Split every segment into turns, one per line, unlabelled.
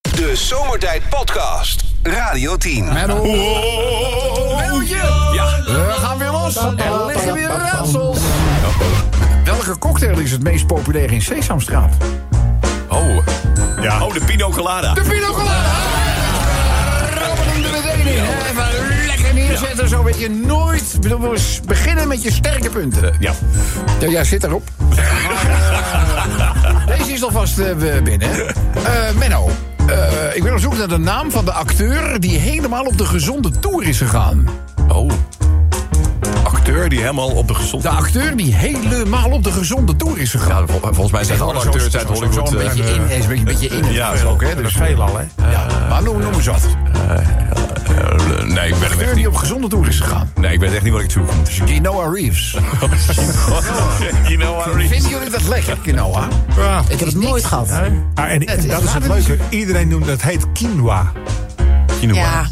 De Zomertijd Podcast. Radio Oh, 10.
Menno.
Ja.
We gaan weer los. Er liggen weer raadsels. Welke cocktail is het meest populair in Sesamstraat?
Oh. Ja. Oh, de Pino Colada.
De Pino Colada. Rammen hem er meteen in. Even lekker neerzetten, zo weet je nooit. Ik bedoel, we beginnen met je sterke punten.
Ja.
Ja, jij zit erop. Deze is alvast eh, we- binnen. Eh, Menno, eh, ik ben op zoek naar de naam van de acteur... die helemaal op de gezonde toer is gegaan.
Oh. Acteur die helemaal op de gezond.
De acteur die helemaal op de gezonde toer is gegaan.
Ja, vol- volgens mij zijn alle acteurs uit Hollywood...
Zo'n
eh,
beetje in, is een beetje, beetje in.
Ja,
het
zo.
ook, hè? Dus,
Veelal, hè?
ja. Maar noem, noem eens wat.
eh, nee, ik ben het
Acteur
echt
die
niet.
op gezonde toer is gegaan.
Nee, ik ben echt niet wat ik zoek.
Quinoa Reeves.
you know what I mean?
Vinden jullie dat lekker, quinoa?
Ik heb het nooit gehad.
Ah, en
Het is
dat is het
waar,
leuke. Iedereen noemt het heet quinoa.
Quinoa.
Ja.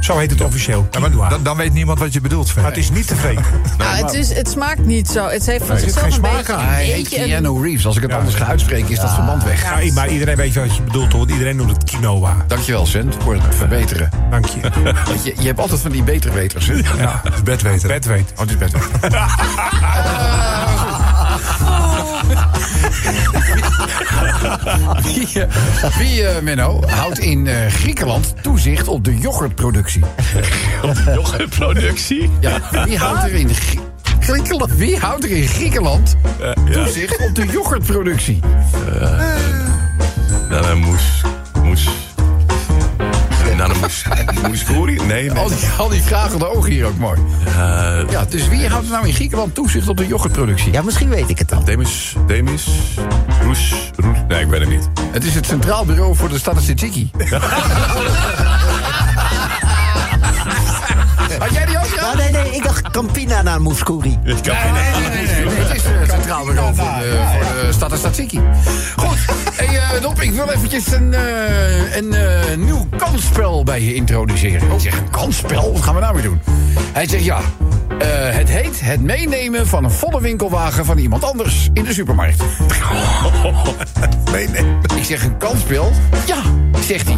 Zo heet het officieel. Quinoa.
dan, dan weet niemand wat je bedoelt, Fred.
Maar het is niet te vreten.
Nou, het, is, het smaakt niet zo. Het heeft van
zit geen
zichzelf een
smaak
beetje,
aan.
Hij
een
heet
beetje een-
Keanu Reeves. Als ik het anders ga uitspreken, is dat verband weg.
Ja, i- Nou, maar iedereen weet wat je bedoelt, hoor. want Iedereen noemt het quinoa.
Dankjewel, Sint, voor het verbeteren.
Dank je.
Want je, je hebt altijd van die beterweters, hè?
Ja. Bedweten. Bedweten. dus
Oh, dit is best wel. Wie, eh, wie eh, Menno, houdt in eh, Griekenland toezicht op de yoghurtproductie?
Productie.
Ja, wie houdt er in Grie- Griekenland? Wie houdt er in Griekenland toezicht op de yoghurtproductie?
Dan een moes. Moes. Dan een moes. Moes Koeri? Nee, nee.
Al die, al die vragende ogen hier ook mooi. Ja, dus wie houdt er nou in Griekenland toezicht op de yoghurtproductie?
Ja, misschien weet ik het dan.
Demis. Demis. Roes. Roes. Nee, ik ben het niet.
Het is het Centraal Bureau voor de Statistici. Had jij die ook? Ja?
Nou, nee, nee, ik dacht Campina naar Mouskouri.
Ik kan geen
Nee, nee, nee, nee, Het is eh, het Centraal Bureau voor de, voor de Statistici. Goed, hey, eh, Dop, ik wil eventjes een, eh, een eh, nieuw kansspel bij je introduceren. Ik zeg, een kansspel? Wat gaan we nou weer doen? Hij zegt, ja, eh, het heet het meenemen van een volle winkelwagen van iemand anders in de supermarkt.
Nee, nee.
Ik zeg een kansspel. Ja, zegt hij.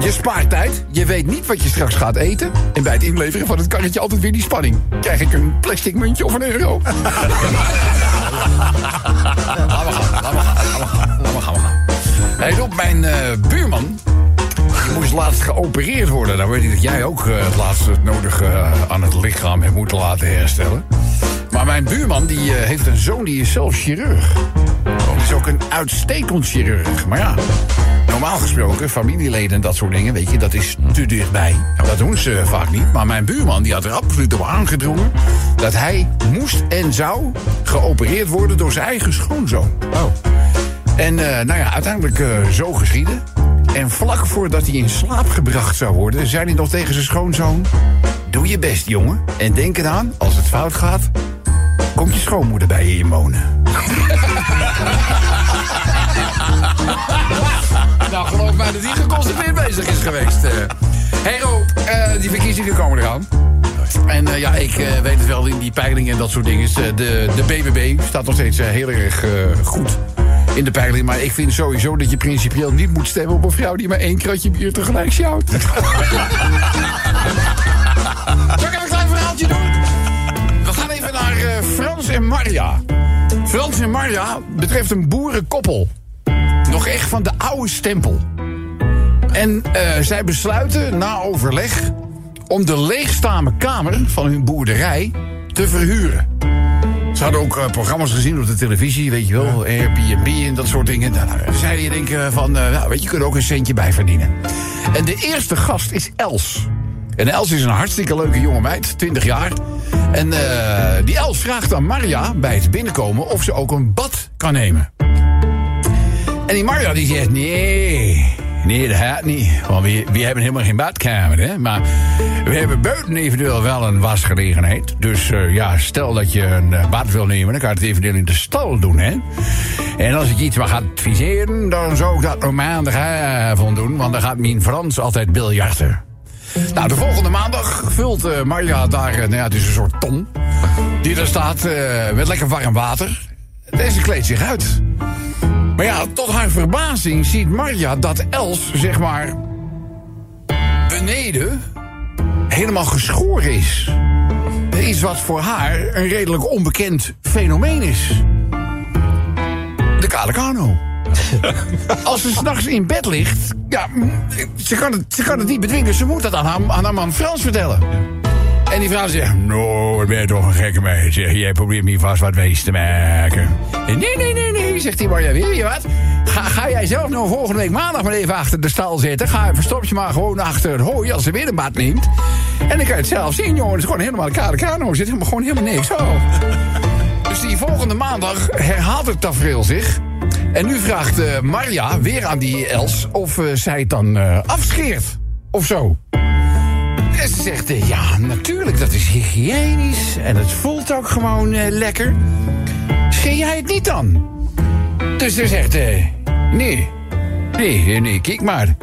Je spaart tijd, je weet niet wat je straks gaat eten. En bij het inleveren van het karretje altijd weer die spanning. Krijg ik een plastic muntje of een euro? Laat maar gaan, laat maar gaan, laat maar gaan, laat maar gaan, laat maar gaan. Hey, Rob, mijn eh, buurman die moest laatst geopereerd worden. Dan weet ik dat jij ook eh, het laatste het nodige eh, aan het lichaam hebt moeten laten herstellen. Maar mijn buurman die, eh, heeft een zoon die is zelf chirurg. Dat is ook een uitstekend chirurg. Maar ja, normaal gesproken, familieleden en dat soort dingen, weet je, dat is te dichtbij. Nou, dat doen ze vaak niet. Maar mijn buurman die had er absoluut op aangedrongen dat hij moest en zou geopereerd worden door zijn eigen schoonzoon. En eh, nou ja, uiteindelijk eh, zo geschieden. En vlak voordat hij in slaap gebracht zou worden, zei hij nog tegen zijn schoonzoon: Doe je best, jongen. En denk eraan, als het fout gaat, komt je schoonmoeder bij je in wonen. Nou, geloof mij dat hij geconcentreerd bezig is geweest. eh. hey Roop, eh, die verkiezingen komen eraan. En eh, ja, ik eh, weet het wel, in die peilingen en dat soort dingen. is, eh, de, de BBB staat nog steeds eh, heel erg eh, goed in de peiling. Maar ik vind sowieso dat je principieel niet moet stemmen op een vrouw... die maar één kratje bier tegelijk sjouwt. Zal ik even een klein verhaaltje doen? We gaan even naar eh, Frans en Maria. Frans en Maria betreft een boerenkoppel. Nog echt van de oude stempel. En eh, zij besluiten na overleg om de leegstame kamer van hun boerderij te verhuren. Ze hadden ook eh, programma's gezien op de televisie, weet je wel, Airbnb en dat soort dingen. Nou, nou, zij die denken van, eh, nou, weet je, je kunt er ook een centje bij verdienen. En de eerste gast is Els. En Els is een hartstikke leuke jonge meid, 20 jaar. En eh, die Els vraagt aan Maria bij het binnenkomen of ze ook een bad kan nemen. En die Mario die zegt, nee, nee, dat gaat niet. Want we, we hebben helemaal geen badkamer, hè. Maar we hebben buiten eventueel wel een wasgelegenheid. Dus eh, ja, stel dat je een eh, bad wil nemen, dan kan je het eventueel in de stal doen, hè. En als ik iets mag adviseren, dan zou ik dat op maandagavond doen. Want dan gaat mijn Frans altijd biljarten. Nou, de volgende maandag vult eh, Marja daar, eh, nou ja, het is een soort ton. Die daar staat eh, met lekker warm water. En ze kleedt zich uit. Maar ja, tot haar verbazing ziet Marja dat Els, zeg maar. beneden. helemaal geschoren is. Iets wat voor haar een redelijk onbekend fenomeen is. De kale kano. Als ze s'nachts in bed ligt. Ja, mm, ze kan, het, ze kan het niet bedwingen. Ze moet dat aan haar, aan haar man Frans vertellen. En die vrouw zegt... Nou, ben je toch een gekke meid. zeg. Jij probeert me vast wat wees te maken. En nee, nee, nee, nee, zegt die Marja. Weet je wat? Ga, ga jij zelf nou volgende week maandag maar even achter de stal zitten. Ga, verstop je maar gewoon achter het hooi als ze weer een bad neemt. En dan kan je het zelf zien, jongen. Het is gewoon helemaal een kale kano. Er zit helemaal, gewoon helemaal niks. Zo. Dus die volgende maandag herhaalt het tafereel zich. En nu vraagt eh, Marja weer aan die Els of eh, zij het dan eh, afscheert. Of zo. En ze zegt, eh, ja, natuurlijk, dat is hygiënisch. En het voelt ook gewoon eh, lekker. Scheer jij het niet dan? Dus ze zegt, eh, nee. Nee, eh, nee, kijk maar.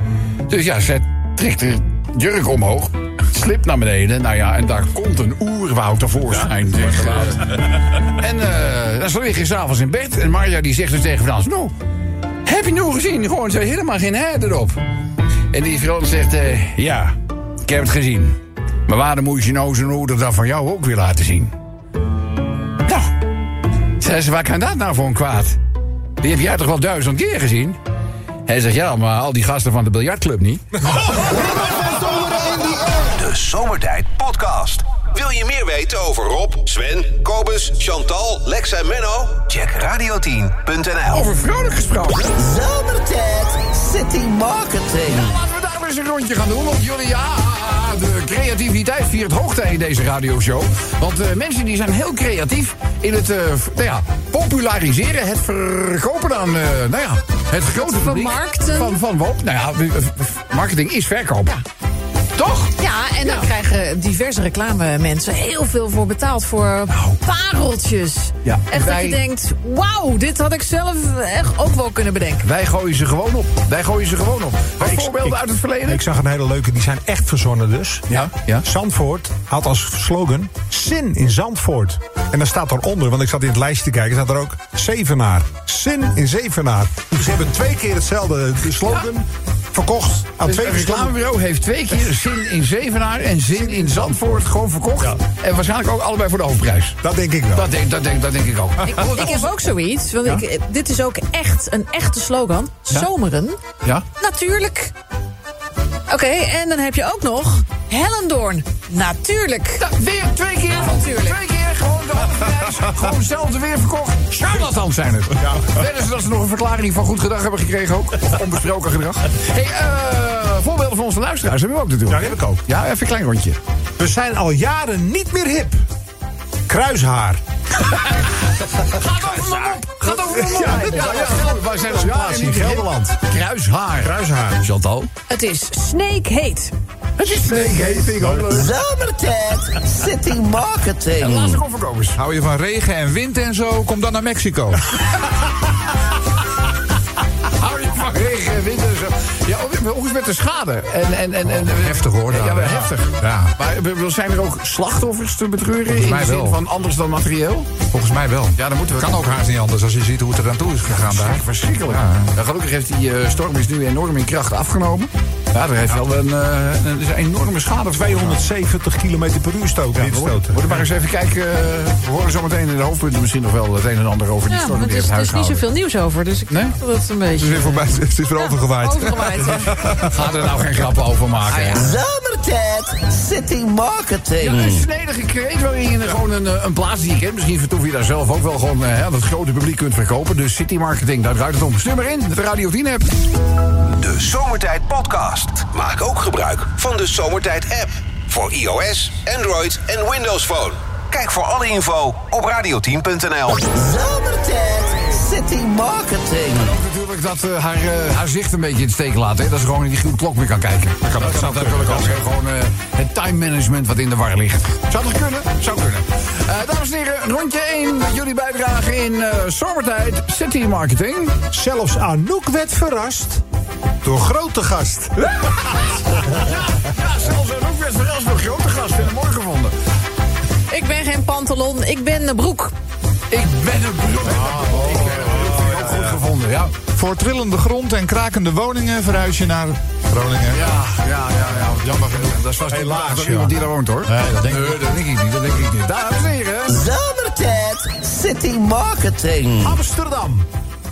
Dus ja, ze trekt haar jurk omhoog. Slip naar beneden. Nou ja, en daar komt een oerwoud tevoorschijn. zeg. En eh, dan lig je s'avonds in bed. En Marja die zegt dus tegen Frans... Nou, heb je nou gezien? Gewoon zo helemaal geen heid erop. En die Frans zegt... eh, ja, ik heb het gezien. Maar waarom moet je nou zo'n ouder dan van jou ook weer laten zien? Nou, zei ze, waar kan dat nou voor een kwaad? Die heb jij toch wel duizend keer gezien? Hij zegt, ja, maar al die gasten van de biljartclub niet.
De Zomertijd Podcast. Wil je meer weten over Rob, Sven, Kobus, Chantal, Lex en Menno? Check radio10.nl.
Over vrolijk gesproken.
Zomertijd City Marketing.
Laten we daar eens een rondje gaan doen. Want jullie, ja, de creativiteit viert hoogte in deze radioshow. Want eh, mensen die zijn heel creatief in het eh, v- nou ja, populariseren, het verkopen aan eh, nou ja, het grote publiek.
Vermarkten.
Van, van wat? Nou ja, w- w- marketing is verkopen. Toch?
Ja, en daar krijgen diverse reclame mensen heel veel voor betaald. Voor pareltjes.
Ja,
echt
wij-
dat je denkt, wauw, dit had ik zelf echt ook wel kunnen bedenken.
Wij gooien ze gewoon op. Wij gooien ze gewoon op. Wat
Ik-
voorbeelden
ik-
uit het verleden?
Ik zag een hele leuke, die zijn echt verzonnen dus.
Ja, ja.
Zandvoort had als slogan Zin in Zandvoort. En dan staat daaronder, want ik zat in het lijstje te kijken, staat er ook Zevenaar. Zin in Zevenaar. Dus ze hebben twee keer hetzelfde de slogan verkocht aan
Dus
twee
het
verschillende...
reclamebureau heeft twee keer zin in Zevenaar en zin in Zandvoort gewoon verkocht. En waarschijnlijk ook allebei voor de hoofdprijs.
Dat denk ik wel.
Dat denk, dat denk, dat denk ik ook.
Ik, ik heb ook zoiets, want ik, dit is ook echt een echte slogan. Zomeren,
Ja?
natuurlijk. Oké, en dan heb je ook nog Hellendoorn, natuurlijk.
Da- weer twee keer.
Natuurlijk.
Twee keer gewoon de hoofdprijs. gewoon hetzelfde weer verkocht. Charlatans zijn het. Ja. Wedden ze dat ze nog een verklaring van goed gedrag hebben gekregen ook? Of onbesproken gedrag? hey, eh, voorbeelden van onze luisteraars hebben we ook natuurlijk.
Ja, die heb ik ook.
Ja, even een klein rondje.
We zijn al jaren niet meer hip. Kruishaar.
Gaat over mijn mond. Gaat over mijn mond.
Ja, ja, ja.
Wij zijn al
Ja,
jaren
in
niet meer hip.
Gelderland.
Kruishaar.
Kruishaar.
Dus
Chantal.
Het is Snake Heet.
Het is
Zomertijd City Marketing.
Lastig overkomers.
Hou je van regen en wind en zo? Kom dan naar Mexico.
Hou je van regen en wind en zo. Ja, oh, ook- maar ook eens met de schade. En, en, en, en,
heftig, hoor,
Ja,
daar.
wel
Ja.
heftig.
Ja.
Maar ik bedoel, zijn er ook slachtoffers te betreuren? In de
mij
zin
wel.
van anders dan materieel?
Volgens mij wel.
Ja, dan moeten we-
Kan ook haast niet anders als je ziet hoe het er aan toe is gegaan daar.
Verschrikkelijk. Nou, gelukkig heeft die eh, storm is nu enorm in kracht afgenomen. Ja, er heeft wel een, eh, een, is een enorme schade. 200.
170 km per uur stoten. windstoten.
Moeten we maar eens even kijken. eh, we horen zometeen in de hoofdpunten misschien nog wel het een en ander over die
Ja,
storm
maar
die
er is,
heeft
er is niet
huisgehouden.
zoveel nieuws over, dus ik
Nee?
denk dat het een beetje...
Het is weer voorbij, het is weer overgewaaid.
Overgewaaid, ja.
Ga er nou geen grappen over maken.
Ah.
Zomertijd City
Ja,
Mm.
een
Marketing.
snedige kreet waarin je gewoon een, eh, een plaats die je kent. Misschien vertoef je daar zelf ook wel gewoon eh, aan het grote publiek kunt verkopen. Dus city marketing, daar draait het om. Stuur maar in, de Radio 10 app.
De Zomertijd Podcast. Maak ook gebruik van de Zomertijd app. Voor iOS, Android en Windows Phone. Kijk voor alle info op radio10.nl.
Zomertijd City Marketing.
Ook natuurlijk dat eh, haar, eh, haar zicht een beetje in het steek laat. Hè? Dat ze gewoon in die groene klok meer kan kijken. Dat kan ook natuurlijk ook. hè. Gewoon eh, het time management wat in de war ligt. Zou dat kunnen? Zou kunnen. Eh, dames en heren, rondje 1. Jullie bijdrage in eh, zomertijd City Marketing.
Zelfs Anouk werd verrast door grote gast.
Ja, zelfs een ook best wel een grote gast in de morgen gevonden.
Ik ben geen pantalon, ik ben een broek.
Ah, Ik ben een broek. Ik ben een broek. Vind ik ook goed
gevonden, ja. Voor trillende grond en krakende woningen verhuis je naar Groningen.
Ja, ja, ja, ja. Jammer genoeg. Dat is vast
Helaas,
niet
ja.
iemand die daar woont, hoor.
Nee, dat denk ik, dat denk ik niet, dat denk ik niet.
Dames en heren,
Zomertijd City Marketing.
Mm.
Amsterdam.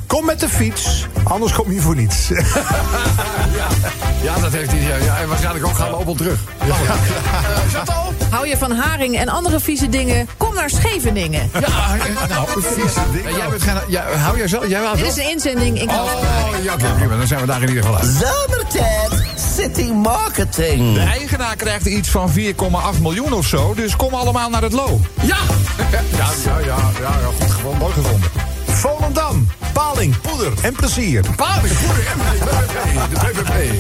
Kom met de fiets, anders kom je voor niets.
ja, dat heeft hij. Ja, ja, en waarschijnlijk ook gaan lopen terug. Oh,
Hou je van haring en andere vieze dingen? Kom naar Scheveningen.
Ja, nou, vieze ding. Jij bent geen, ja, hou jij zelf? Jij houdt
Dit
wel-
is een inzending. Ik hou-
Oh, ja, oké, prima. Dan zijn we daar in ieder geval uit.
Zomertijd City Marketing.
Mm.
De eigenaar krijgt iets van 4,8 miljoen of zo, dus kom allemaal naar het Lo.
Ja! Ja, ja, ja, ja, ja, goed gewoon mooi gevonden.
Volendam. Paling, poeder en plezier.
Paal, de PPP, de PPP, PPP.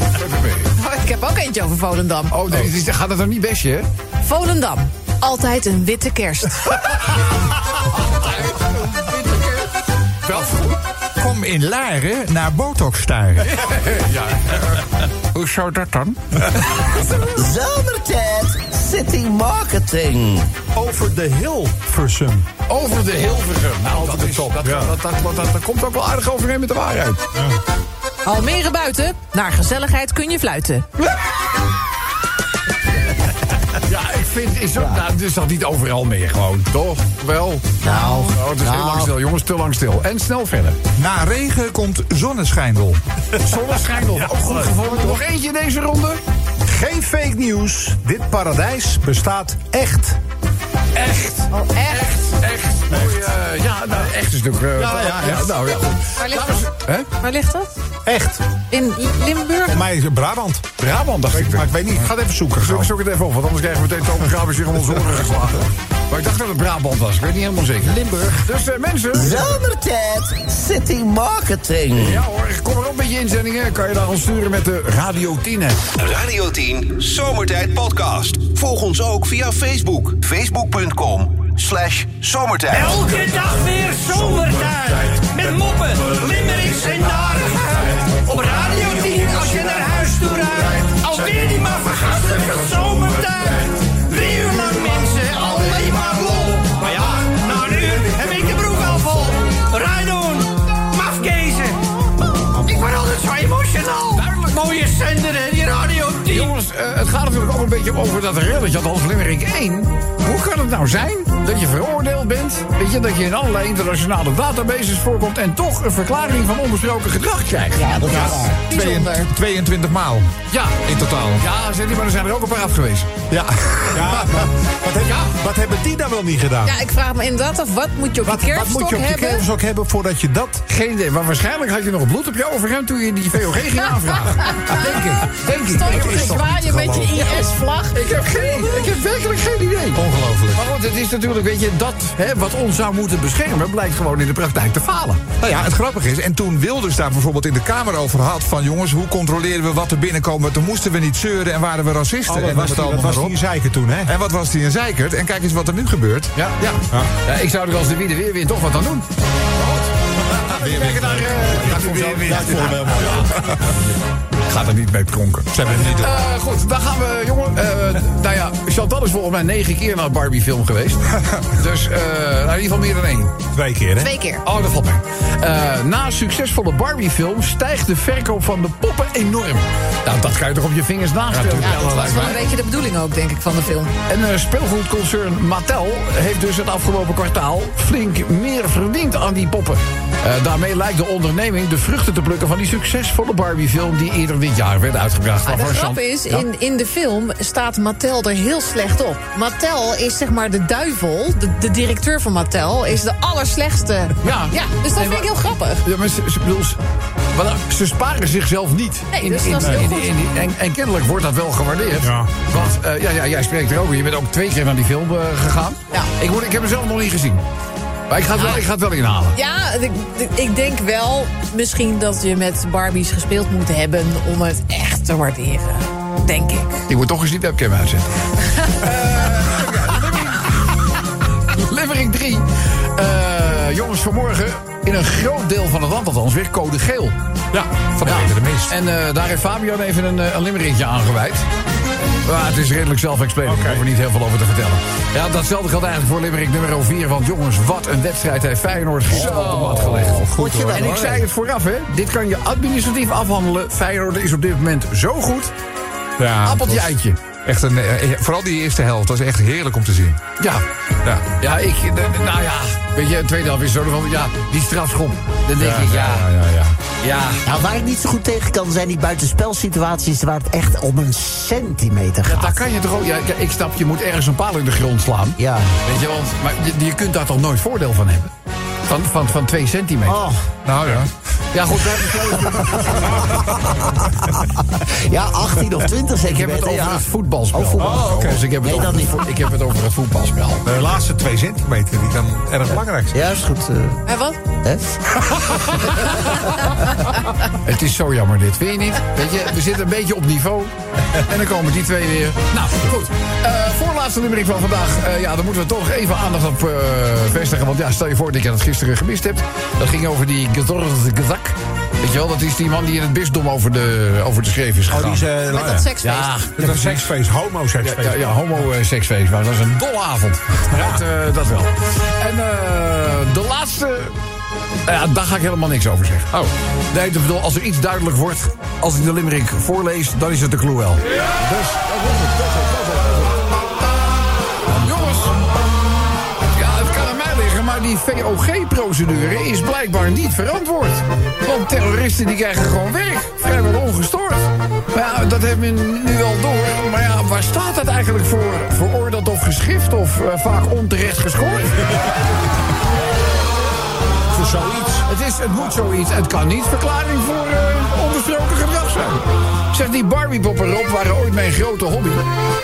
Oh, ik heb ook eentje over Volendam.
Oh, nee, dit is- gaat het dan niet bestje, hè?
Volendam. Altijd een witte kerst.
Wel goed.
Kom in Laren naar Botox staren.
Ja.
Hoe zou dat dan?
Zomertijd City
Mm.
Marketing.
Over de Hilversum.
Over de Hilversum. Nou, dat is top. Dat,
ja.
dat, dat, dat, dat komt ook wel aardig overeen met de waarheid.
Almere buiten. Naar gezelligheid kun je fluiten.
Ja, ik vind... Is, ook- nou, het is dat niet overal meer gewoon, toch? Wel? Nou, oh, het is heel
nou.
lang stil, jongens. Te lang stil. En snel verder.
Na regen komt zonneschijndel.
Zonneschijndel. ook goed gevonden. Nog eentje in deze ronde.
Geen fake nieuws. Dit paradijs bestaat echt.
Echt. Echt. Echt. Mooi, eh, ja, nou, echt is natuurlijk... eh,
Ja, ja, echt.
Nou, ja, goed.
Waar ligt
Dames-
dat?
Hè?
Waar ligt dat?
Echt.
In Limburg?
Mij is het Brabant.
Brabant, dacht ik.
Maar ik weet niet. Ik ga het even zoeken.
Zoek,
gauw.
zoek het even op, want anders krijgen we meteen Thomas Gabers hier om onze oren geslagen. Maar ik dacht dat het Brabant was, ik weet niet helemaal zeker. Limburg. Dus eh, mensen...
Zomertijd City Marketing.
Ja hoor, kom maar op met je inzendingen. Kan je daar ons sturen met de Radio 10 app.
Radio 10 Zomertijd Podcast. Volg ons ook via Facebook. Facebook.com slash zomertijd.
Elke dag weer zomertijd. Met moppen, limmerings en narigheid. Op Radio 10 als je naar huis toe rijdt. Alweer die maar vergastige zomertijd. Drie uur lang mensen, alleen maar lol. Maar ja, na een uur heb ik de broek al vol. Rijdoen, mafkezen. Ik word altijd zo emotional. Duidelijk mooie zender hè, die Radio 10.
Jongens, eh, het gaat natuurlijk ook een beetje over dat relletje dat als Limerick 1. Hoe kan het nou zijn dat je veroordeeld bent? Weet je, dat je in allerlei internationale databases voorkomt... en toch een verklaring van onbesproken gedrag krijgt? Ja, dat is waar.
22, 22 maal
Ja,
in totaal.
ja zeg die, maar er zijn er ook een paar af geweest.
Ja. ja, maar wat, heb-
Ja.
wat hebben die dan wel niet gedaan?
Ja, ik vraag me inderdaad af, wat moet je op
Wat,
je
wat moet
kerfstok
je op je
hebben?
kerfstok hebben voordat je dat...
Geen idee, maar waarschijnlijk had je nog bloed op jou overhemd toen je die VOG ging aanvragen. denk ik, denk ik.
Stond je
Ik-
te
ik-
zwaaien met je IS-vlag?
Ik heb geen, ik heb werkelijk geen idee.
Ongelooflijk.
Maar goed, het is natuurlijk, weet je, dat hè, wat ons zou moeten beschermen... blijkt gewoon in de praktijk te falen.
Nou ja, het grappige is, en toen Wilders daar bijvoorbeeld in de Kamer over had... van jongens, hoe controleren we wat er binnenkomt? Toen moesten we niet zeuren en waren we racisten.
Oh, dat
en noem
was, die,
het
dat
allemaal
was
maar
die
op.
in zeiken toen, hè?
En wat was die een zeikert? En kijk eens wat er nu gebeurt.
Ja, ja. Ja, ik zou er als de wie de weer weer toch wat aan doen. Weer weer. Dat komt zo weer.
Gaat er niet mee pronken. Ze hebben het niet door.
Eh, goed, dan gaan we, jongen. eh, nou ja, Chantal is volgens mij negen keer naar een Barbie-film geweest. dus eh, nou, in ieder geval meer dan één.
Twee keer, hè?
Twee keer.
Oh, dat valt mee. Eh, na een succesvolle Barbie-film stijgt de verkoop van de poppen enorm. Nou, dat kan je toch op je vingers nagaan.
Ja, dat was wel een beetje de bedoeling ook, denk ik, van de film.
En eh speelgoedconcern Mattel heeft dus het afgelopen kwartaal flink meer verdiend aan die poppen. Eh, daarmee lijkt de onderneming de vruchten te plukken van die succesvolle Barbie-film die eerder dit jaar werd uitgebracht.
Maar Ah, de
Waarvan
grap
Chan-
is,
Ja.
in, in de film staat Mattel er heel slecht op. Mattel is zeg maar de duivel, de, de directeur van Mattel, is de allerslechtste.
Ja.
ja dus dat
Nee,
vind ik
maar-
heel grappig.
Ja, maar ze, ze, bedoel, ze, maar dan- ze sparen zichzelf niet.
Nee, dus dat is heel goed.
en, en kennelijk wordt dat wel gewaardeerd.
Ja.
Want eh, ja, ja, jij spreekt erover. Je bent ook twee keer naar die film eh, gegaan.
Ja. Nou.
Ik, moet, ik heb hem zelf nog niet gezien. Maar ik ga het, wel, ik ga het wel inhalen.
Ja, ik, ik denk wel misschien dat je met Barbies gespeeld moet hebben om het echt te waarderen. Denk ik.
Ik moet toch eens die webcam uitzetten. Eh, Levering 3. Eh, jongens, vanmorgen in een groot deel van het land althans weer code geel.
Ja, van de
Ja.
reden de mist.
En eh, daar heeft Fabian even een, eh, een limmeringje aan gewijd. Maar het is redelijk zelf-explained. Ik
Oké.
hoef er niet heel veel over te vertellen. Ja, datzelfde geldt eigenlijk voor Limerick nummer 4. Want jongens, wat een wedstrijd heeft Feyenoord gisteren op de mat gelegd.
Goed hoor.
En ik zei het vooraf, hè. Dit kan je administratief afhandelen. Feyenoord is op dit moment zo goed.
Ja, het
Appeltje
was
eitje.
Echt een, eh, eh, vooral die eerste helft was echt heerlijk om te zien.
Ja.
Ja.
Ja, ik... de- de- Nou ja, weet je, tweede helft is zo van... Ja, die strafschop. Dan denk ik, ja,
ja, ja, ja.
ja.
Nou, waar ik niet zo goed tegen kan zijn die buitenspelsituaties waar het echt om een centimeter
Ja,
gaat.
daar kan je toch ook... Ja, ja, ik snap, je moet ergens een paal in de grond slaan.
Ja.
Weet je, want, maar je, je kunt daar toch nooit voordeel van hebben? Van, van, van twee centimeter.
Oh,
Nou ja.
Ja, goed, we hebben besloten.
ja, 18 of 20
Ik heb
centimeter.
het over
ja.
het voetbalspel.
Oh, voetbal.
Oh, oké. Dus ik heb, het
Nee,
over,
dat niet.
ik heb het over het voetbalspel.
De laatste twee centimeter, die kan erg belangrijk zijn.
Ja, is goed. eh,
Hé, wat?
hè?
Het is zo jammer dit, vind je niet? Weet je, we zitten een beetje op niveau. En dan komen die twee weer. Nou, goed. Eh, voorlaatste nummering van vandaag. Eh, ja, daar moeten we toch even aandacht op eh, vestigen. Want ja, stel je voor dat je dat gisteren gemist hebt. Dat ging over die Gedorgde Gezak. Weet je wel, dat is die man die in het bisdom over de, over de schreef is gegaan.
Oh, die is... eh, nou
Met
ja.
dat seksfeest.
ja,
Dat is een seksfeest, homoseksfeest.
Ja, ja, homo-seksfeest. Maar dat is een dolle avond. Dat, eh, dat wel. En eh, de laatste... nou Ja, daar ga ik helemaal niks over zeggen. Oh. Nee, ik bedoel, als er iets duidelijk wordt... als ik de limerick voorlees, dan is het de Cruel. Dus, dat was het. Dat was het, dat was het. Jongens, ja, het kan aan mij liggen, maar die VOG-procedure is blijkbaar niet verantwoord. Want terroristen die krijgen gewoon werk, vrijwel ongestoord. Maar ja, dat hebben we nu wel door. Maar ja, waar staat dat eigenlijk voor? Veroordeeld of geschift of eh, vaak onterecht geschoord? Voor zoiets. Het, is, het moet zoiets. Het kan niet verklaring voor eh onbesproken gedrag zijn. Zeg, die Barbie-poppen Rob waren ooit mijn grote hobby.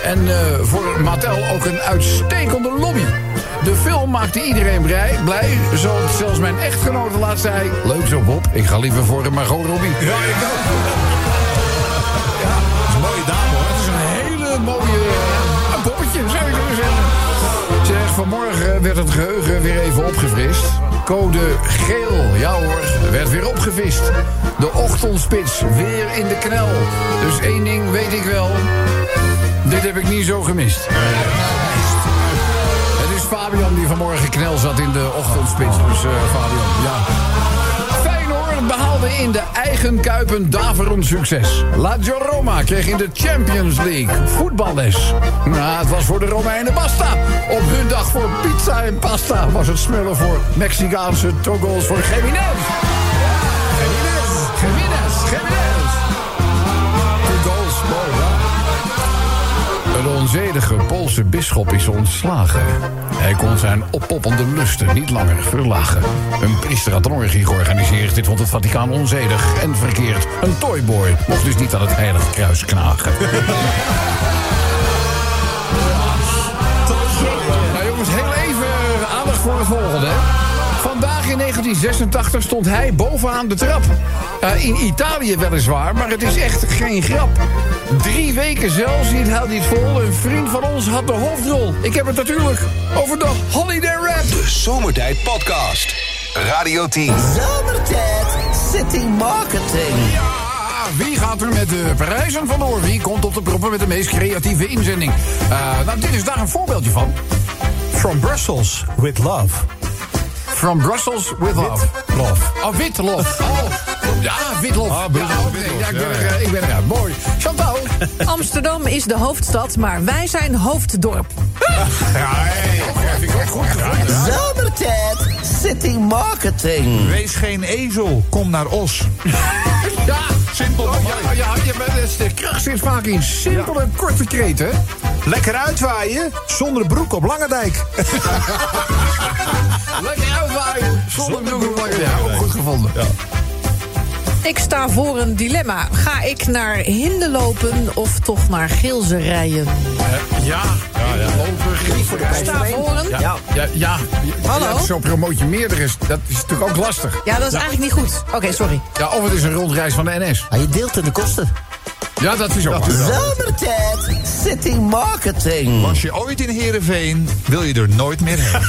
En eh, voor Mattel ook een uitstekende lobby. De film maakte iedereen blij, blij zoals zelfs mijn echtgenote laat zei... Leuk zo, Bob. Ik ga liever voor een Margot Robbie. Ja, ik ook. Dat is een mooie dame, hoor. Het is een hele mooie eh, een poppetje, zou ik willen zeggen. Zeg, vanmorgen werd het geheugen weer even opgefrist. Code geel, ja hoor, werd weer opgevist. De ochtendspits, weer in de knel. Dus één ding weet ik wel. Dit heb ik niet zo gemist. Het is Fabian die vanmorgen knel zat in de ochtendspits. Dus eh, Fabian, ja. Feyenoord behaalde in de eigen kuip een daverend succes. La Roma kreeg in de Champions League voetballes. Nou, het was voor de Romeinen basta. Op hun dag voor pizza en pasta was het smullen voor Mexicaanse toggles voor Jiménez. Jiménez, Jiménez, Jiménez. Toggles, mooi, ja. Een onzedige Poolse bisschop is ontslagen. Hij kon zijn oppoppende lusten niet langer verlagen. Een priester had een orgie georganiseerd. Dit vond het Vaticaan onzedig en verkeerd. Een toyboy mocht dus niet aan het Heilige Kruis knagen. Nou jongens, heel even eh, aandacht voor het volgende. hè. Vandaag in 1986 stond hij bovenaan de trap. Eh, in Italië weliswaar, maar het is echt geen grap. Drie weken zelfs niet houdt hij het vol. Een vriend van ons had de hoofdrol. Ik heb het natuurlijk over de Holiday Rap.
De Zomertijd Podcast. Radio 10.
Zomertijd City Marketing.
Ah, Wie gaat er met de prijzen vandoor? Wie komt op de proppen met de meest creatieve inzending? Eh, nou, dit is daar een voorbeeldje van.
From Brussels, with love.
From Brussels with love.
Love.
Oh, Witlof. Oh, ja, Witlof.
Ah, Brussel,
ja, oké.
Witlof,
Ja, ik ben
ja,
er,
ja.
eh, ik ben er. Mooi. Chantal.
Amsterdam is de hoofdstad, maar wij zijn hoofddorp.
Zomertijd City Marketing.
Wees geen ezel, kom naar Os.
Ja, simpel. ja, ja, ja, maar dat is de kracht zit vaak in simpele, korte kreten.
Lekker uitwaaien, zonder broek op Langendijk.
Lekker uitwaaien. Zonder broek. Ja, ook goed gevonden.
Ik sta voor een dilemma. Ga ik naar Hinde lopen of toch naar Geelze rijden?
Ja, ja, ja. Lopen, griet voor de prijs.
Sta voor een?
Ja, ja. ja.
Hallo?
Ja, Zo promoot je meerdere. Dat is natuurlijk ook lastig.
Ja, dat is eigenlijk niet goed. Oké, sorry.
Ja, of het is een rondreis van de NS.
Maar je deelt in de kosten.
Ja, dat is ook waar.
Zomertijd City Marketing.
Als je ooit in Heerenveen, wil je er nooit meer heen.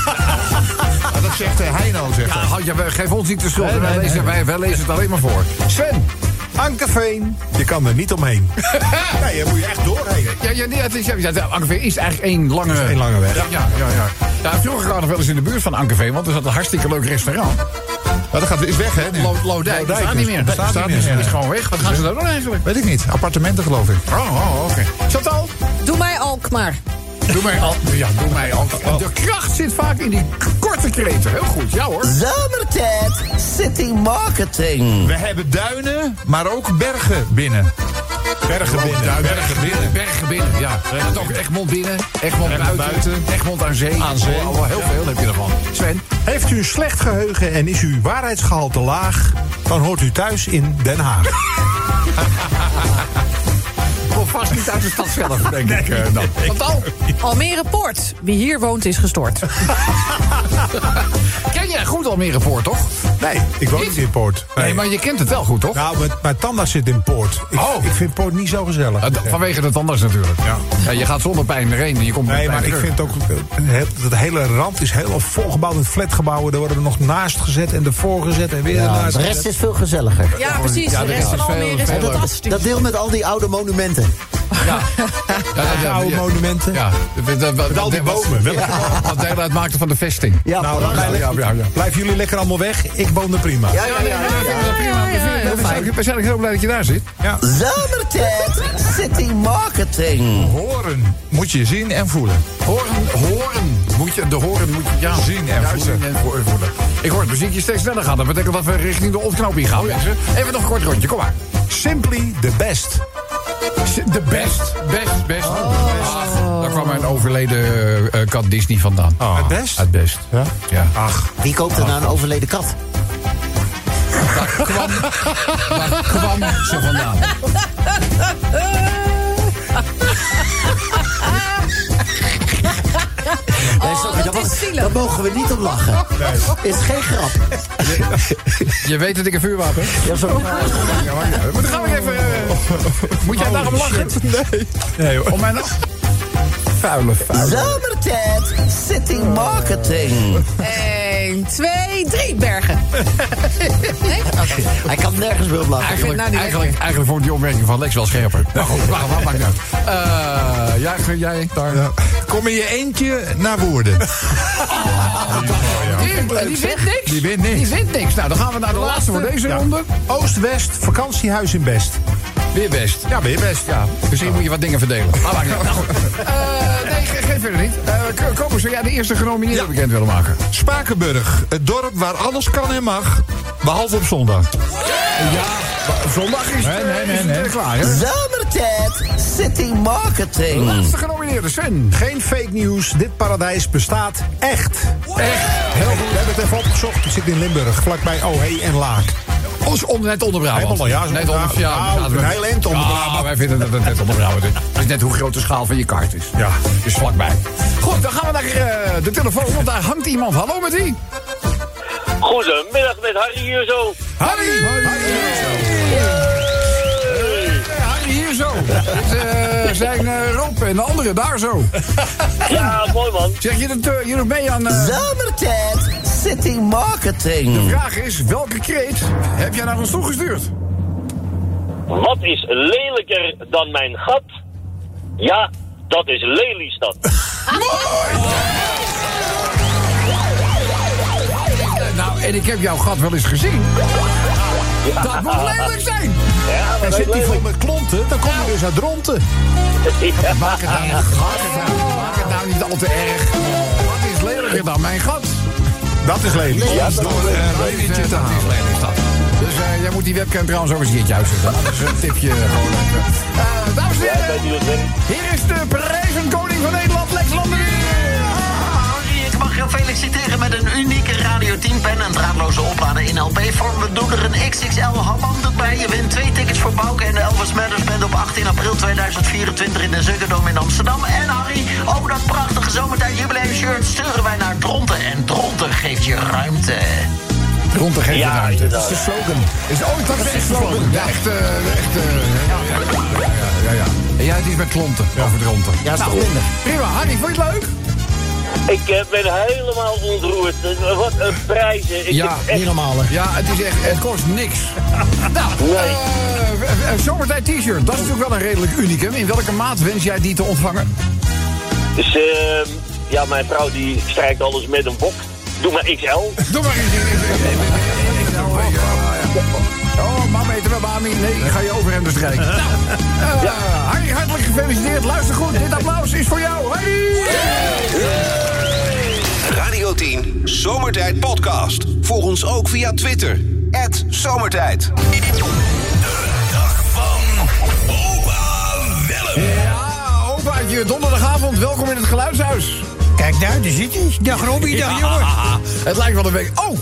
Dat
dat zegt eh, Heino. Zegt dat.
Ja, ja, geef ons niet de schuld. wij, lezen, wij, wij lezen het alleen maar voor. Sven.
Ankerveen. Je kan er niet omheen. nee, daar moet je echt doorheen.
Ja, ja, nee, het is, ja, ja, de Ankerveen is eigenlijk één lange...
is één lange weg.
Ja, ja, ja. ja. ja vroeger waren we nog wel eens in de buurt van Ankerveen, want er zat een hartstikke leuk restaurant.
Maar dat gaat, is weg, hè? nu?
Lo Loodijk,
Loodijk
bestaat
is-
niet meer.
bestaat
Bestaat
niet meer,
is
ja.
gewoon weg. Wat gaan ze daar doen eigenlijk?
Weet ik niet. Appartementen, geloof ik.
Oh, oh oké. Chantal,
Doe mij Alkmaar.
doe mij al. Ja, doe mij al. oh. De kracht zit vaak in die korte kreten. Heel goed, ja hoor.
Zomertijd City Marketing.
We hebben duinen, maar ook bergen binnen.
Bergen binnen.
Bergen binnen. Bergen binnen, ja. Je hebt ook Egmond binnen, Egmond buiten, Egmond aan zee.
Aan zee.
Oh, heel veel heb je ervan. Sven,
Heeft u een slecht geheugen en is uw waarheidsgehalte laag... dan hoort u thuis in Den Haag.
kom vast niet uit de stad zelf, denk ik. eh, dan. Chantal,
Almere Poort. Wie hier woont is gestoord.
ken jij goed Almere Poort, toch?
Nee, ik woon niet in Poort.
Nee, maar je kent het wel goed, toch?
Nou, mijn, mijn tandarts zit in Poort. Ik,
Oh.
ik vind Poort niet zo gezellig.
Eh, d- Vanwege het anders natuurlijk. Ja. je gaat zonder pijn erheen en je komt met
Nee,
pijn
maar ik
terug.
vind ook... eh, Het, het hele rand is helemaal volgebouwd met flatgebouwen. Daar worden we nog naast gezet en ervoor gezet en weer
Ja,
ernaast
de Nou, rest
gezet.
is veel gezelliger.
Ja, precies.
Ja,
de rest
dat is
van
veel-
Almere is
veel
fantastisch.
Dat deel met al die oude monumenten.
Ja. Ja, ja, ja,
Oude
ja.
monumenten.
Ja, met,
al die bomen. Welke-
Wat deel uitmaakte van de vesting.
Ja,
Nou,
prachtig.
blijf-
ja, ja, ja.
blijven jullie lekker allemaal weg. Ik woon er prima.
ja, ja, ja, ja, ja.
We zijn ook- we zijn ook heel blij dat je daar zit.
Zomertijd City Marketing.
Horen moet je zien en voelen.
Horen, horen. Moet je, de horen moet je ja, zien en voelen. Ik hoor het muziekje steeds sneller gaan. Dat betekent dat we richting de ontknoping gaan, mensen. Even nog een kort rondje, kom maar.
Oh Simply the best.
De best, best, best.
Oh.
Ach, daar kwam mijn overleden eh, eh, kat Disney vandaan.
Het best?
Het best. Ja? Ah. Ja.
Ach,
Wie koopt er nou een overleden kat?
Daar kwam, daar kwam ze vandaan.
Nee, sorry,
dat
daar
is
mo-
zielig.
daar mogen we niet om lachen. Is geen grap.
Je weet dat ik een vuurwapen heb.
Ja, zo.
Moet, gaan we even, eh, moet jij daarom lachen? Nee. nee hoor. Om mijn... Vuile, vuile.
Zomertijd City Marketing.
1, 2, 3 bergen. Nee? Oké.
Hij kan nergens meer om lachen.
vind het nou
Eigenlijk,
niet
eigenlijk, eigenlijk vond ik die opmerking van Lex wel scherper. Nou goed, maar wat maakt uit. Eh, ja, kun jij daar?
Kom in je eentje naar Woerden.
Die, die wint niks.
Die wint niks.
Die wint niks. Nou, dan gaan we naar de laatste voor deze ronde.
Oost-West, vakantiehuis in Best.
Weer best. Ja, weer best. Ja. Misschien moet je wat dingen verdelen. Maar maakt niet uit. Nou, goed. Eh, nee, ge- geef verder niet. Eh Koper, zou jij de eerste genomineerde bekend willen maken?
Spakenburg, het dorp waar alles kan en mag, behalve op zondag.
Ja, zondag is het,
Nee, nee,
eh,
nee,
is het, eh,
nee.
klaar. Hè?
Zomertijd City Marketing.
Laatste genomineerde, Sven.
Geen fake nieuws, dit paradijs bestaat echt.
Echt.
Heel goed. We hebben het even opgezocht. Ik zit in Limburg, vlakbij Ohee en Laak.
Ons onder, net onder Brabant.
Helemaal, ja, zo-
net onder,
nou, nou,
ja,
een heel eind onder
Ja,
Brabant.
wij vinden dat het net onder Brabant is. Het is net hoe groot de schaal van je kaart is.
Ja.
Is vlakbij. Goed, dan gaan we naar eh, de telefoon, want daar hangt iemand. Hallo met die.
Goedemiddag met Harry hier zo.
Harry! Harry hier zo. Eh, Harry hier zo. Dit eh, zijn eh Rob en de anderen daar zo.
Ja, mooi man.
Zeg, je doet, eh, je doet mee aan... eh,
Zomertijd City Marketing.
de vraag is, welke kreet heb jij naar ons toegestuurd?
Wat is lelijker dan mijn gat? Ja, dat is Lelystad.
Eh, nou, en ik heb jouw gat wel eens gezien. Dat moet lelijk zijn.
Ja,
En
dat
zit
is
die vol
lelijk.
met klonten, dan kom je dus uit Dronten.
eh,
Maak het nou, maak het nou, maak het nou niet al te erg. Wat is lelijker dan mijn gat?
Dat is lelijk.
Ja, dat is lelijk.
Dat is, eh, dat is lelijk, dat. Dus eh, jij moet die webcam trouwens ook eens een keertje uitzetten. Anders eh, tip je gewoon even. Eh, dames en
Ja, dat
heren,
is lelijk.
hier is de prijzenkoning van Nederland, Lex Landerie.
Harry, ik mag jou feliciteren met een unieke Radio 10 pen en draadloze oplader in LP-vorm. We doen er een XXL hamhanddoek bij. Je wint twee tickets voor Bouke en de Elvis Matters Band op 18 april 2024 in de Ziggo Dome in Amsterdam. En Harry, ook dat prachtige zomertijd jubileum shirt sturen wij naar Dronten. En Dronten geeft je ruimte.
Rond de gegeven
Ja,
ruimte.
inderdaad.
de slogan. Is, oh, dat is echt eh, slogan. De echte... De echte ja, ja, ja, ja. En jij hebt iets met klonten over dronten.
Ja, is
Nou,
toch minder.
Prima, Harry, vond je het leuk?
Ik eh, ben helemaal ontroerd. Eh, Wat een prijzen. Ik
Ja,
heb echt-
Ja, het is echt, het kost niks. nou, eh, eh, zomertijd t-shirt, dat is natuurlijk wel een redelijk unicum. In welke maat wens jij die te ontvangen?
Dus ehm, ja, mijn vrouw die strijkt alles met een bok. Doe maar XL.
Doe maar eens. Oh, mama eten we mami. Nee, ik ga je over hem bestrijken. Nou, eh, Harry, hartelijk gefeliciteerd. Luister goed, dit applaus is voor jou. Harry!
Radio 10 Zomertijd Podcast. Volg ons ook via Twitter. Zomertijd.
Ja, opaatje, donderdagavond. Welkom in het geluidshuis.
Kijk daar, daar zit hij. Dag Robbie, dag jongen.
Het lijkt wel een week... Oh!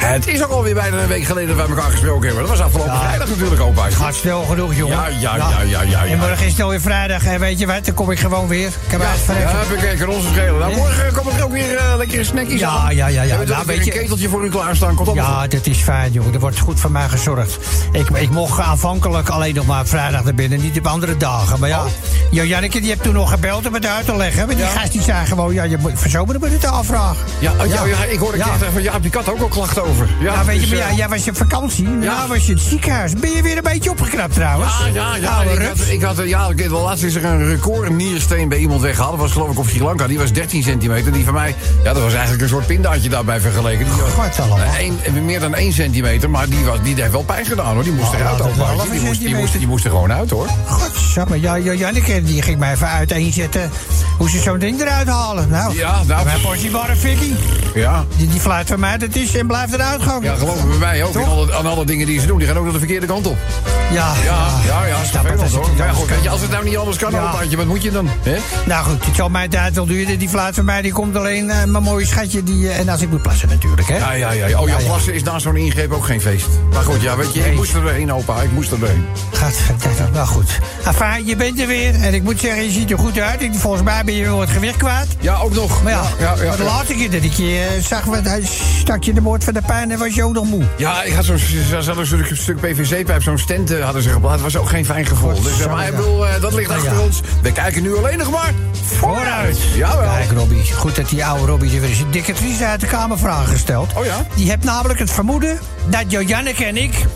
Het is ook alweer bijna een week geleden dat wij elkaar gesproken hebben. Dat was afgelopen vrijdag natuurlijk, opaatje.
Gaat snel genoeg, jongen.
Ja, ja, ja, ja, ja. ja.
En morgen is het alweer vrijdag. En weet je wat, dan kom ik gewoon weer. Ik heb
Ja,
haast van
ja,
even-
heb ik even onze schelen. Nou, morgen komt er ook weer eh, lekkere snackjes
Ja,
aan.
ja, ja, ja.
We
Nou,
hebben
weet
weer een
je-
keteltje voor u klaarstaan. Komt allemaal
Ja, dat is fijn, jongen. Er wordt goed voor mij gezorgd. Ik, ik mocht aanvankelijk alleen nog maar op vrijdag naar binnen, niet op andere dagen.
Oh.
Maar ja, ja Janneke, die hebt toen nog gebeld om het uit te leggen. Maar die gast die zei gewoon, ja, je moet verzomeren moet het aanvragen.
Ja, oh, ja, ja, ik hoorde
Ja.
ja. van Jaap, die kat ook al klachten over.
Ja, weet je,
dus,
maar
eh,
ja, jij was op vakantie. Ja. Nou was je in het ziekenhuis. Ben je weer een beetje opgeknapt trouwens?
Ja, Ah, ja, ja.
Oude
Ik
rups.
had, ik had, eh, ja, ik weet wel, laatst is er een record niersteen bij iemand weggehaald. Dat was geloof ik op Sri Lanka. Die was 13 centimeter. Die van mij, ja, dat was eigenlijk een soort pindaatje daarbij vergeleken. Die was
God, allemaal.
eh, één- meer dan 1 centimeter, maar die, was, die heeft wel pijn gedaan hoor. Die moest
Oh,
eruit
dat is wel
ook.
een
Die moest, die, moest,
centimeter.
die moest er gewoon uit hoor.
Godsamme, ja, ja, Janneke die ging mij even uiteenzetten hoe ze zo'n ding eruit halen. Nou,
Ja, nou.
mijn portiebare Vicky,
Ja.
die, die fluit van mij dat is en blijft eruit gaan.
Ja, geloof me bij mij ook. En alle, aan alle dingen die ze doen, die gaan ook nog de verkeerde kant op.
Ja,
Ja, ja, ja.
ik
is
snap het,
vervelend,
als het
hoor.
niet
Maar ja,
anders
goed,
kan.
weet je, als het nou niet anders kan,
Ja.
dan wat moet je dan? Hè?
Nou goed, het zal mijn tijd wel duren. Die fluit van mij die komt alleen eh, mijn mooie schatje. Die, eh, en als ik moet plassen natuurlijk, hè?
Ja, ja, ja. Oh ja, plassen is na zo'n ingreep ook geen feest. Maar goed, ja, weet je, ik moest er doorheen, opa. Ik moest er doorheen.
Gaat verder. Nou goed. Enfin, je bent er weer. En ik moet zeggen, je ziet er goed uit. Ik, volgens mij ben je wel wat gewicht kwaad.
Ja, ook nog.
Maar ja,
ja, ja,
de
ja.
laatste keer dat ik je eh, zag, wat, hij stak je de boord van de pijn en was je ook nog moe.
Ja, ik had zo'n ze hadden zo'n stuk PVC-pijp, zo'n stand eh, hadden ze geplaatst. Dat was ook geen fijn gevoel. Dus, eh, maar ik bedoel, eh, dat ligt
Ja,
achter
ja.
ons. We kijken nu alleen nog maar vooruit. Jawel.
Kijk, Robbie. Goed dat die oude Robbie er weer eens een dikke triest uit de Kamervraag gesteld.
Oh ja?
Die hebt namelijk het vermoeden dat Jojanneke en ik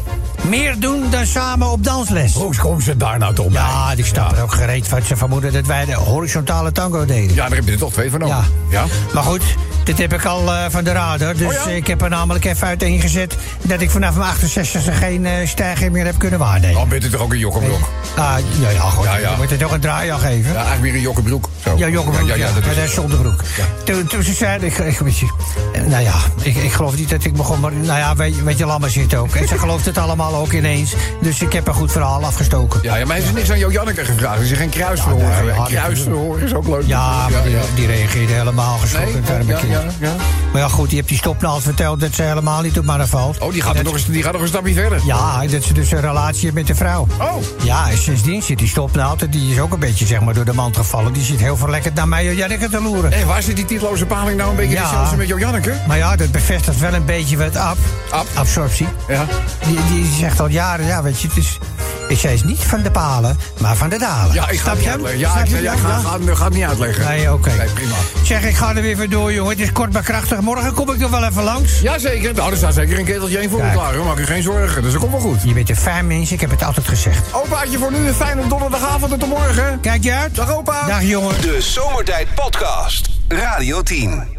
meer doen dan samen op dansles.
Hoe komen ze daar nou toch bij?
Ja, ik snap er ook gereed van. Ze vermoeden dat wij de horizontale tango deden.
Ja, daar heb je er toch twee van over.
Ja.
ja?
Maar goed, dit heb ik al eh, van de radar. Dus
Oh ja?
ik heb er namelijk even uiteengezet... dat ik vanaf mijn 68e geen eh, stijging meer heb kunnen waarnemen.
Dan bent u toch ook een jokkenbroek?
Ah, ja, ja, goed.
Oh. Ja, ja.
Je moet er toch een draai aan geven.
Ja, eigenlijk meer een jokkenbroek. Zo.
Ja, Jokkenbroek, ja,
ja,
maar
dat is-
dat is zonder broek. Toen, toen ze zeiden, ik, ik, weet je, eh, nou ja, ik, ik geloof niet dat ik begon, maar nou ja, weet, weet je, Lammer zit ook. En ze gelooft het allemaal ook ineens, dus ik heb een goed verhaal afgestoken.
Ja, ja, maar heeft ze niks aan Jo Janneke gevraagd? Is er geen kruisverhoor
Ja, nee,
geweest?
ja,
kruisverhoor is ook leuk.
Ja, maar die, die reageerde helemaal
Nee,
geschrokken. het arme
ja,
kind.
ja, ja.
Maar ja, goed, die hebt die stopnaald verteld dat ze helemaal niet op mannen valt.
Oh, die gaat, er
Dat
nog
ze-
eens, die gaat nog een stapje verder.
Ja, dat ze dus een relatie heeft met de vrouw.
Oh.
Ja, en sindsdien zit die stopnaald, en die is ook een beetje zeg maar, door de mand gevallen. Die zit heel verlekkerd naar mij en Janneke te loeren.
Hé, waar zit die titloze paling nou een beetje
Ja.
ja. hetzelfde met Jo Janneke?
Maar ja, dat bevestigt wel een beetje wat ab,
Ab?
absorptie.
Ja.
Die, die zegt al jaren, ja, weet je, het is... Ik zei is niet van de palen, maar van de dalen.
Ja, ik ga
Snap
het
je
niet
hem?
uitleggen. Ja,
Snap
ik
je
ga, ja,
hem?
ik ga,
Ja?
ga, ga het niet uitleggen.
Nee, oké.
Nee, prima.
Zeg, ik ga er weer voor door, jongen. Het is kort maar krachtig. Morgen kom ik nog wel even langs.
Jazeker, nou, er staat zeker een keteltje één voor me
Kijk.
klaar. hoor. Maak je geen zorgen, dus dat komt wel goed.
Je bent een fijn mens, ik heb het altijd gezegd.
Opaatje, voor nu een fijne donderdagavond en tot morgen.
Kijk je uit?
Dag opa.
Dag, jongen.
De Zomertijd Podcast. Radio 10.